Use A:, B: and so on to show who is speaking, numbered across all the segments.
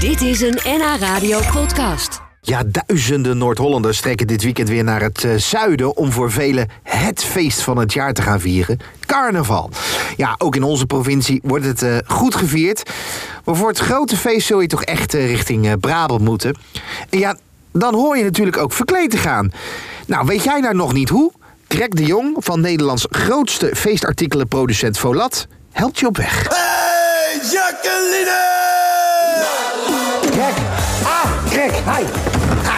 A: Dit is een NH Radio podcast.
B: Ja, duizenden Noord-Hollanders trekken dit weekend weer naar het eh, zuiden om voor velen het feest van het jaar te gaan vieren: carnaval. Ja, ook in onze provincie wordt het eh, goed gevierd. Maar voor het grote feest zul je toch echt eh, richting eh, Brabant moeten. En ja, dan hoor je natuurlijk ook verkleed te gaan. Nou, weet jij nou nog niet hoe? Greg de Jong van Nederlands grootste feestartikelenproducent Volat helpt je op weg.
C: Hey, Jacqueline!
B: Krek. Ah, Krek. Hi.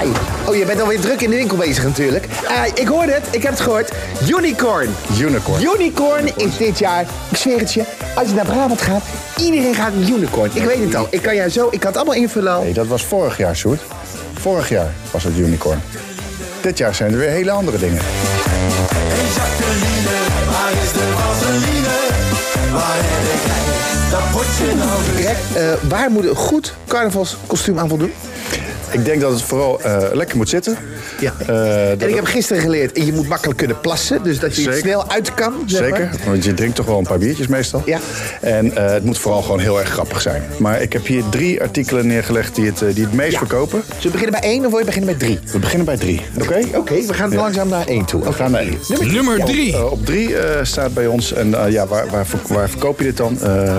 B: Hi. Oh, je bent alweer druk in de winkel bezig natuurlijk. Eh, ik hoorde het, ik heb het gehoord. Unicorn.
C: Unicorn.
B: Unicorn is dit jaar, ik zweer het je, als je naar Brabant gaat, iedereen gaat een unicorn. Ik weet het al, ik kan jou zo, ik kan het allemaal invullen al.
C: Hey, dat was vorig jaar, Sjoerd. Vorig jaar was het unicorn. Dit jaar zijn er weer hele andere dingen.
B: Krek, eh, waar moet een goed carnavalskostuum aan voldoen?
C: Ik denk dat het vooral eh, lekker moet zitten.
B: Ja.
C: Eh, dat
B: en ik
C: het-
B: heb gisteren geleerd, je moet makkelijk kunnen plassen, dus dat je het
C: Zeker.
B: snel uit kan. zeg maar.
C: Zeker, want je drinkt toch wel een paar biertjes meestal.
B: Ja.
C: En eh, het moet vooral gewoon heel erg grappig zijn. Maar ik heb hier drie artikelen neergelegd die het, eh, die het meest
B: Ja.
C: verkopen.
B: Zullen we beginnen bij één of wil je beginnen bij drie?
C: We beginnen bij drie, oké?
B: Oké, we gaan langzaam naar één toe.
C: We gaan naar één.
D: Nummer 3.
C: Eh, op drie eh, staat bij ons, en eh, ja, waar, waar, verk- waar verkoop je dit dan? Eh,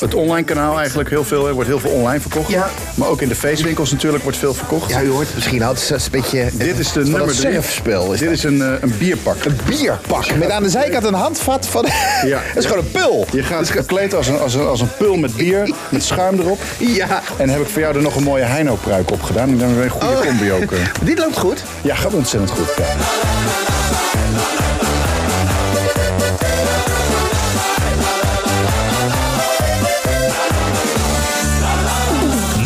C: het online kanaal eigenlijk heel veel. Er wordt heel veel online verkocht.
B: Ja.
C: Maar ook in de feestwinkels natuurlijk wordt veel verkocht.
B: Ja, u hoort het misschien al. Het is een beetje.
C: Dit is de
B: van
C: nummer
B: dat
C: drie.
B: surfspel. Is
C: dit
B: dit
C: is een, eh, een bierpak.
B: een bierpak met aan de zijkant een handvat van.
C: Ja.
B: dat is gewoon een pul.
C: Je gaat gekleed als een, als, een, als een pul met bier, met schuim erop.
B: Ja.
C: En heb ik voor jou er nog een mooie Heino-pruik op gedaan. Ik denk dat we een goede
B: Oh.
C: combi ook. eh.
B: Dit loopt goed.
C: Ja, gaat ontzettend goed. Ja.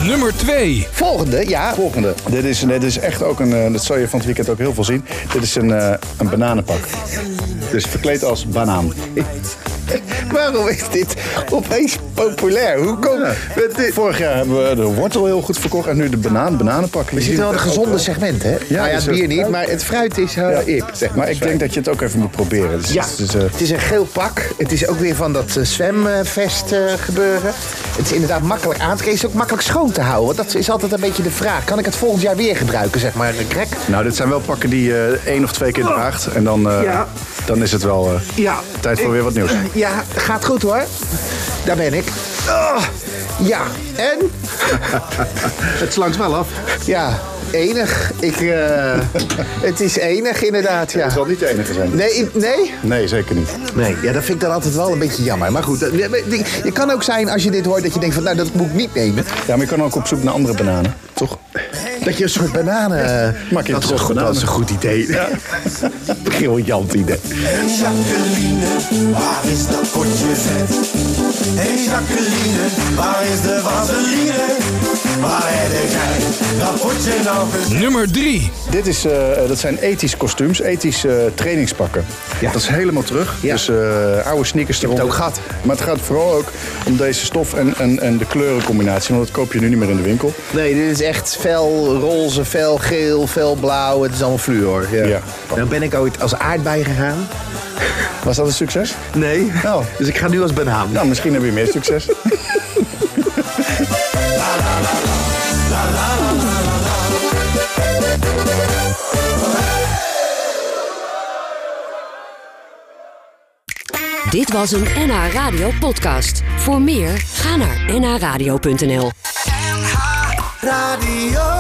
D: Nummer 2.
B: Volgende, ja.
C: Volgende. Dit is, dit is echt ook een. eh, Dat zal je van het weekend ook heel veel zien. Dit is een, eh, een bananenpak. Dus verkleed als banaan.
B: Waarom is dit opeens populair? Hoe komt
C: Ja.
B: het? dit-
C: Vorig jaar hebben we de wortel heel goed verkocht en nu de banaan, bananenpak.
B: Er zit wel een gezonde segment, hè? Nou Ja, ja,
C: dus
B: het
C: het
B: bier niet,
C: fruit-
B: maar het fruit is eh, heel ip. Zeg maar.
C: Maar ik denk dat je het ook even moet proberen. Dus,
B: Ja,
C: het is, eh,
B: het is een geel pak. Het is ook weer van dat eh, zwemvest eh, gebeuren. Het is inderdaad makkelijk aan te kleden. Het is ook makkelijk schoon te houden. Want dat is altijd een beetje de vraag. Kan ik het volgend jaar weer gebruiken, zeg maar, eh, Greg?
C: nou, dit zijn wel pakken die je één of twee keer draagt. En dan, eh,
B: Oh. Ja.
C: dan is het wel eh,
B: Ja.
C: tijd voor weer wat nieuws.
B: Ja, gaat goed hoor. Daar ben ik. Ah, ja, en?
C: Het slankt wel af.
B: Ja, enig. Ik, eh, het is enig inderdaad, ja.
C: Het zal niet de enige zijn.
B: Nee, nee?
C: Nee, zeker niet.
B: Nee, ja, dat vind ik dan altijd wel een beetje jammer. Maar goed, dat- je kan ook zijn als je dit hoort dat je denkt van... nou, dat moet ik niet nemen.
C: Ja, maar je kan ook op zoek naar andere bananen, toch?
B: Dat je een soort bananen... eh,
C: Maak je
B: dat, is
C: toch
B: een goed, dat is een goed idee. Briljant idee.
E: Hey Jacqueline, waar is dat potje vet? Hey Jacqueline, waar is de vaseline? Waar heb jij dat potje nou gezien?
D: Nummer 3.
C: Dit is, eh, dat zijn ethisch kostuums, ethisch eh, trainingspakken.
B: Ja.
C: Dat is helemaal terug.
B: Ja.
C: Dus eh, oude sneakers
B: hebt
C: eronder.
B: het ook gehad.
C: Maar het gaat vooral ook om deze stof en, en, en de kleurencombinatie. Want dat koop je nu niet meer in de winkel.
B: Nee, dit is echt fel roze, fel geel, fel blauw. Het is allemaal fluor. Ja.
C: Ja.
B: Dan ben ik ooit als aardbei gegaan.
C: Was dat een succes?
B: Nee.
C: Nou.
B: Dus ik ga nu als banaan.
C: Nou, misschien heb je meer succes.
A: Dit was een NH Radio podcast. Voor meer, ga naar nhradio.nl.
E: Radio.